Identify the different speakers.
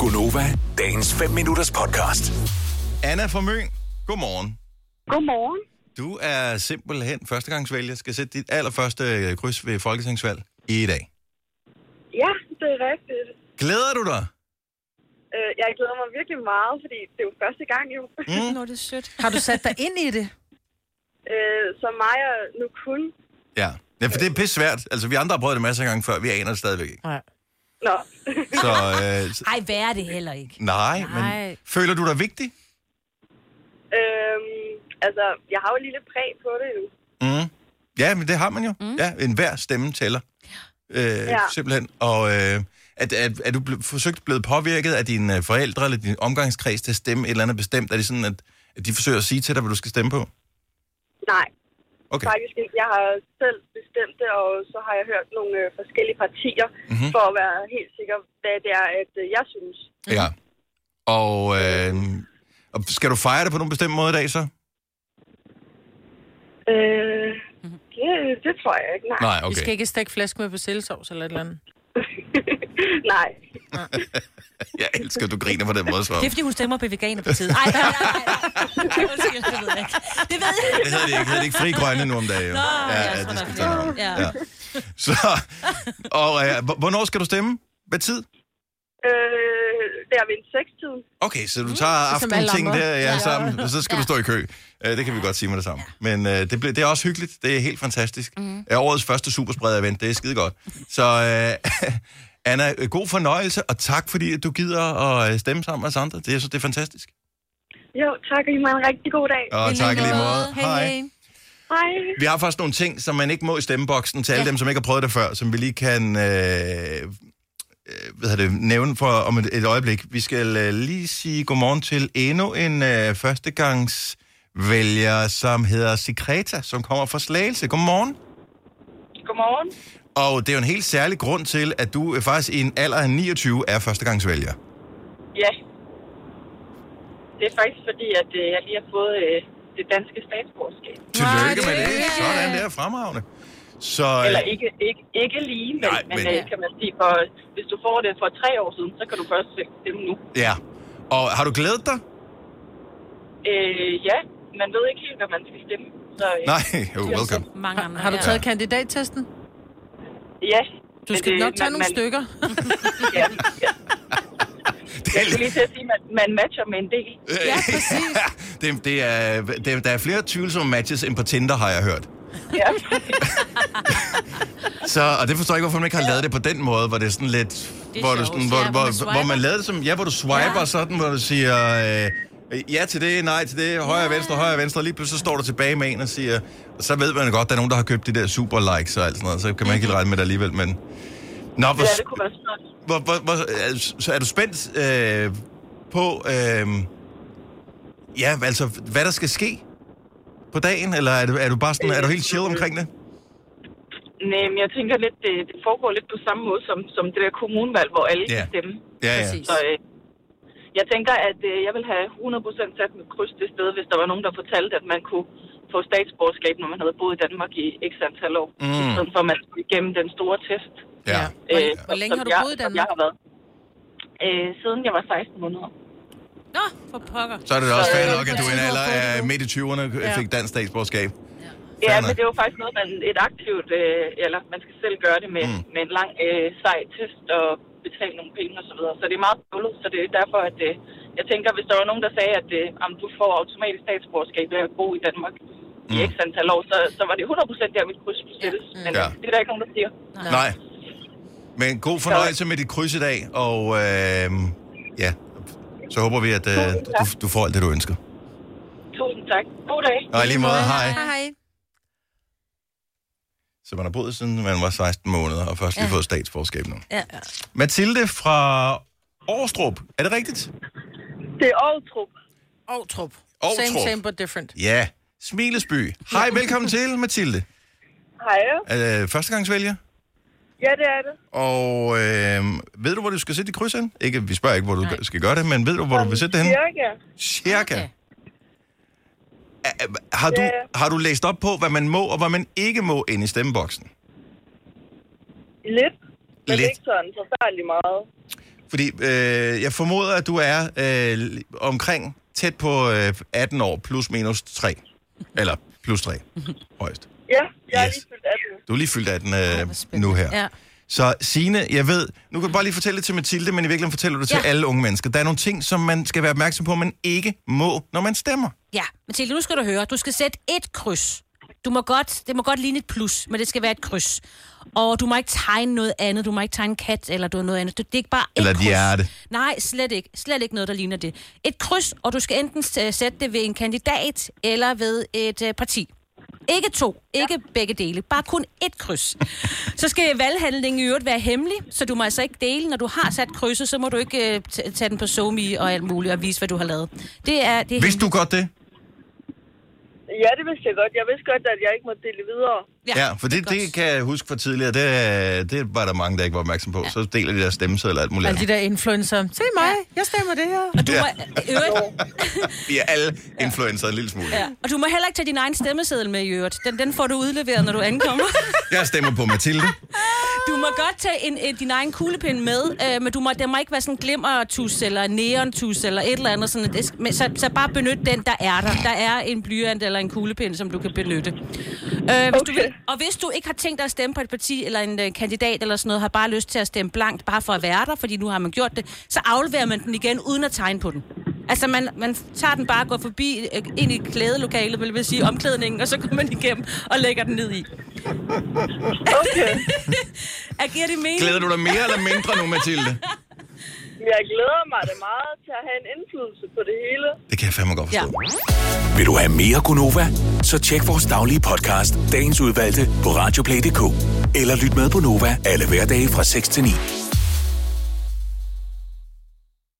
Speaker 1: Gunova, dagens 5 minutters podcast.
Speaker 2: Anna fra Møn, godmorgen.
Speaker 3: Godmorgen.
Speaker 2: Du er simpelthen førstegangsvælger, skal sætte dit allerførste øh, kryds ved folketingsvalg i dag.
Speaker 3: Ja, det er rigtigt.
Speaker 2: Glæder du dig?
Speaker 3: Øh, Jeg glæder mig virkelig meget, fordi det er jo første gang jo.
Speaker 2: Mm.
Speaker 4: Nå, det er sødt.
Speaker 5: Har du sat dig ind i det?
Speaker 3: Øh, Så mig og nu kun.
Speaker 2: Ja. ja, for det er pisse svært. Altså, vi andre har prøvet det masser af gange før, vi aner det stadigvæk ikke.
Speaker 3: Nå.
Speaker 2: Så, øh, så
Speaker 4: Ej, hvad er det heller ikke?
Speaker 2: nej, men
Speaker 4: Nej.
Speaker 2: føler du dig vigtig?
Speaker 3: Øhm, altså, jeg har jo et lille præg på det jo.
Speaker 2: Mm. Ja, men det har man jo. Mm. Ja, enhver stemme tæller. Øh, ja. Simpelthen. Og øh, er, er, er du ble, forsøgt blevet påvirket af dine øh, forældre eller din omgangskreds til at stemme et eller andet bestemt? Er det sådan, at, at de forsøger at sige til dig, hvad du skal stemme på?
Speaker 3: Nej,
Speaker 2: Okay.
Speaker 3: faktisk ikke. Jeg har selv bestemt det, og så har jeg hørt nogle øh, forskellige partier,
Speaker 2: Mhm.
Speaker 3: mm-hmm. for at være helt sikker, hvad det er, at øh, jeg synes.
Speaker 2: Ja. Og, øh, og skal du fejre det på nogen bestemt måde i dag så?
Speaker 3: Øh, det, det tror jeg ikke, nej.
Speaker 2: Nej,
Speaker 6: Okay. Vi skal
Speaker 2: okay.
Speaker 6: ikke stikke flæsk med på sillesovs eller et eller andet.
Speaker 3: nej.
Speaker 2: Jeg elsker, at du griner på den måde, så.
Speaker 4: Det er, fordi hun stemmer på Veganerpartiet. Ej, nej, nej, nej. Undskyld, det ved jeg ikke. Det ved jeg Ah,
Speaker 2: Det hedder det ikke. Det hedder det ikke fri grønne nu om dagen. jo.
Speaker 4: Nå,
Speaker 2: ja,
Speaker 4: ja,
Speaker 2: ja,
Speaker 4: så
Speaker 2: det
Speaker 4: er
Speaker 2: skal
Speaker 4: det.
Speaker 2: tage hånd om.
Speaker 4: Ja.
Speaker 2: ja. Så, og øh, hvor- hvornår skal du stemme? Hvad tid?
Speaker 3: Øh, det er ved en sekstid.
Speaker 2: Okay, så du tager
Speaker 6: Ligesom alle
Speaker 2: aftenting
Speaker 6: andre.
Speaker 2: der ja,
Speaker 6: Ja.
Speaker 2: sammen, og så skal du stå i kø. Øh, Det kan vi godt sige med det samme. Men øh, det, blev, det er også hyggeligt. Det er helt fantastisk. Mm. Årets første superspreder-event, det er skide godt. Så øh, Anna, øh, god fornøjelse, og tak fordi at du gider at øh, stemme sammen med os andre. Det, jeg synes, det er fantastisk.
Speaker 3: Jo, tak, og I må have en rigtig god dag.
Speaker 2: Og tak i lige måde.
Speaker 4: Hej, hej.
Speaker 3: Hej.
Speaker 2: Vi har faktisk nogle ting, som man ikke må i stemmeboksen til alle ja. dem, som ikke har prøvet det før, som vi lige kan øh, øh, hvad hedder det, nævne for om et, et øjeblik. Vi skal øh, lige sige godmorgen til endnu en øh, førstegangsvælger, som hedder Sikreta, som kommer fra Slagelse. Godmorgen.
Speaker 3: Godmorgen.
Speaker 2: Og det er jo en helt særlig grund til, at du øh, faktisk i en alder af 29 er førstegangsvælger.
Speaker 3: Ja. Det er faktisk fordi, at øh, jeg lige har fået øh, det danske statsborgerskab.
Speaker 2: Tillykke med det.
Speaker 6: tillykke.
Speaker 2: Sådan der, fremragende. Så, øh,
Speaker 3: Eller ikke, ikke, ikke lige, men,
Speaker 2: Nej,
Speaker 3: Nej, men...
Speaker 2: men-
Speaker 3: men øh, kan man sige, for hvis du får det for tre år siden, så kan du først stemme nu.
Speaker 2: ja. Og har du glædet dig?
Speaker 3: Øh, ja, man ved ikke helt, hvad man skal stemme. Så, øh,
Speaker 2: Nej, jo, welcome.
Speaker 4: Mange andre.
Speaker 6: Har du taget kandidattesten?
Speaker 3: Ja.
Speaker 6: Du skal nok tage nogle stykker.
Speaker 3: Ja, ja.
Speaker 2: Det
Speaker 3: Jeg
Speaker 2: er
Speaker 3: skulle lige til at sige, at man, man matcher med en del.
Speaker 2: Ja, præcis. det, det er, det, der er flere tvivlsomme matches end på Tinder, har jeg hørt.
Speaker 3: Ja.
Speaker 2: Så, og det forstår jeg ikke, hvorfor man ikke har lavet det på den måde, hvor det er sådan lidt...
Speaker 4: er
Speaker 2: hvor, du
Speaker 4: sjovt.
Speaker 2: sådan, hvor,
Speaker 4: Ja, hvor man
Speaker 2: hvor,
Speaker 4: swiper.
Speaker 2: hvor, man lavede det som... Ja, hvor du swiper ja.
Speaker 4: Ja.
Speaker 2: sådan, hvor du siger... Øh, ja til det, nej til det, højre, ja. venstre, højre, venstre. Og lige pludselig så står du tilbage med en og siger... Og så ved man godt, der er nogen, der har købt de der super likes og alt sådan noget. Så kan man ikke helt regne med det alligevel, men... Nå, hvor,
Speaker 3: ja, det kunne være sådan noget.
Speaker 2: hvor, hvor, hvor, er- så er du spændt øh, på, øh, ja, altså, hvad der skal ske på dagen, eller er du, er du bare sådan, er du helt chill omkring det?
Speaker 3: Nej, men jeg tænker lidt, det, det foregår lidt på samme måde som, som det der kommunevalg, hvor alle
Speaker 2: Ja.
Speaker 3: yeah. stemmer.
Speaker 2: Ja, ja.
Speaker 4: Præcis.
Speaker 3: Så øh, jeg tænker, at øh, jeg vil have 100% sat mit kryds det sted, hvis der var nogen, der fortalte, at man kunne få statsborgerskab, når man havde boet i Danmark i x antal år.
Speaker 2: Mm.
Speaker 3: Mm. I stedet for, at man skulle igennem den store test.
Speaker 2: Ja.
Speaker 6: Hvor,
Speaker 3: øh,
Speaker 6: hvor længe
Speaker 3: som
Speaker 6: har du
Speaker 3: jeg,
Speaker 6: boet i
Speaker 3: som Jeg
Speaker 6: Danmark?
Speaker 3: har været. Øh, siden jeg var 16 måneder.
Speaker 4: Nå, for pokker.
Speaker 2: Så er det da også
Speaker 3: Så,
Speaker 2: fair
Speaker 3: øh,
Speaker 2: nok, at du i en alder af midt i 20'erne fik dansk statsborgerskab.
Speaker 3: Ja,
Speaker 2: Fair
Speaker 3: men
Speaker 2: nok.
Speaker 3: det var faktisk noget, man et aktivt, øh, eller man skal selv gøre det med,
Speaker 2: Mm.
Speaker 3: mm. med en lang øh, sej test og betale nogle penge og så videre. Så det er meget bøvlet, så det er derfor, at øh, jeg tænker, hvis der var nogen, der sagde, at øh, om du får automatisk statsborgerskab ved at bo i Danmark mm. i
Speaker 2: Mm.
Speaker 3: x antal år, så, så var det 100% der, mit kryds skulle sættes. Men
Speaker 2: Ja.
Speaker 3: ja. det er der ikke nogen, der siger.
Speaker 2: Nej. Men god fornøjelse med dit kryds i dag, og øh, ja, så håber vi, at øh, du, du får alt det, du ønsker.
Speaker 3: Tusind tak. God dag.
Speaker 2: Og i lige måde, hej.
Speaker 6: Hej, hej.
Speaker 2: Så man har boet siden man var 16 måneder, og først lige
Speaker 4: Ja.
Speaker 2: fået statsborgerskab nu.
Speaker 4: Ja.
Speaker 2: Mathilde fra Årstrup. Er det rigtigt?
Speaker 3: Det er Aarhus
Speaker 6: Outrup.
Speaker 2: Outrup.
Speaker 6: Same, same, but different.
Speaker 2: Ja. Smilesby. Hej, velkommen til, Mathilde.
Speaker 3: Hej.
Speaker 2: Øh, førstegangsvælger.
Speaker 3: Ja, det er det.
Speaker 2: Og øh, ved du, hvor du skal sætte dit kryds hen? Ikke, vi spørger ikke, hvor du Nej. skal gøre det, men ved du, hvor du vil sætte det hen?
Speaker 3: Cirka.
Speaker 2: Cirka.
Speaker 4: Okay.
Speaker 2: Er- er- Har du, har du læst op på, hvad man må og hvad man ikke må ind i stemmeboksen?
Speaker 3: Lidt.
Speaker 2: men Lidt. ikke
Speaker 3: sådan forfærdelig meget.
Speaker 2: Fordi øh, jeg formoder, at du er øh, omkring tæt på øh, 18 år, plus minus 3. Eller plus 3, højst.
Speaker 3: Ja, jeg er
Speaker 2: Yes.
Speaker 3: lige fyldt 18.
Speaker 2: Du er lige fyldt 18 øh,
Speaker 4: spændende.
Speaker 2: nu her.
Speaker 4: Ja.
Speaker 2: Så Sine, jeg ved, nu kan du bare lige fortælle det til Mathilde, men i virkeligheden fortæller du det til
Speaker 4: Ja.
Speaker 2: alle unge mennesker. Der er nogle ting, som man skal være opmærksom på, man ikke må, når man stemmer.
Speaker 4: Ja, Mathilde, nu skal du høre. Du skal sætte et kryds. Du må godt, det må godt ligne et plus, men det skal være et kryds. Og du må ikke tegne noget andet. Du må ikke tegne en kat eller du noget andet. Det er ikke bare et
Speaker 2: Eller et
Speaker 4: kryds.
Speaker 2: hjerte.
Speaker 4: Nej, slet ikke. Slet ikke noget, der ligner det. Et kryds, og du skal enten øh, sætte det ved en kandidat eller ved et øh, parti. Ikke to, ikke ja. begge dele, bare kun et kryds. Så skal valghandlingen i øvrigt være hemmelig, så du må altså ikke dele. Når du har sat krydset, så må du ikke øh, t- tage den på Somi og alt muligt og vise, hvad du har lavet. Det er, det er
Speaker 2: Vidste du godt det?
Speaker 3: Ja, det vidste jeg godt. Jeg vidste godt, at jeg ikke måtte dele videre.
Speaker 2: Ja, for det,
Speaker 4: godt.
Speaker 2: det kan jeg huske fra tidligere. Det, øh, det var der mange, der ikke var opmærksom på. Ja. Så deler de deres stemmesedler og alt muligt.
Speaker 6: Alle de
Speaker 2: andet.
Speaker 6: der influencer. Se mig, jeg stemmer det her.
Speaker 4: Og du,
Speaker 2: Ja.
Speaker 4: ja. må, i øvrigt,
Speaker 2: Vi er alle influencer en lille smule.
Speaker 4: ja. og du må heller ikke tage din egen stemmeseddel med i øvrigt. Den, den får du udleveret, når du ankommer.
Speaker 2: Jeg stemmer på Mathilde.
Speaker 4: Du må godt tage en, en, din egen kuglepen med, øh, men du må, den må ikke være sådan en glimmertus eller en neontus eller et eller andet. Sådan, det, men, så, så bare benyt den, der er der. Der er en blyant eller en kuglepen, som du kan benytte. Øh, hvis du vil, og hvis du ikke har tænkt dig at stemme på et parti eller en øh, kandidat eller sådan noget, har bare lyst til at stemme blankt, bare for at være der, fordi nu har man gjort det, så afleverer man den igen uden at tegne på den. Altså, man, man tager den bare og går forbi øh, ind i klædelokalet, vil jeg vil sige, omklædningen, og så går man igennem og lægger den ned i.
Speaker 3: Okay.
Speaker 4: Agerer det mening?
Speaker 2: Glæder du dig mere eller mindre nu, Mathilde?
Speaker 3: Jeg glæder mig da meget til at have en indflydelse på det hele.
Speaker 2: Det kan jeg fandme godt forstå.
Speaker 4: Ja.
Speaker 1: Vil du have mere Gunova? Så tjek vores daglige podcast, dagens udvalgte, på radioplay.dk. Eller lyt med på Nova alle hverdage fra 6 til 9.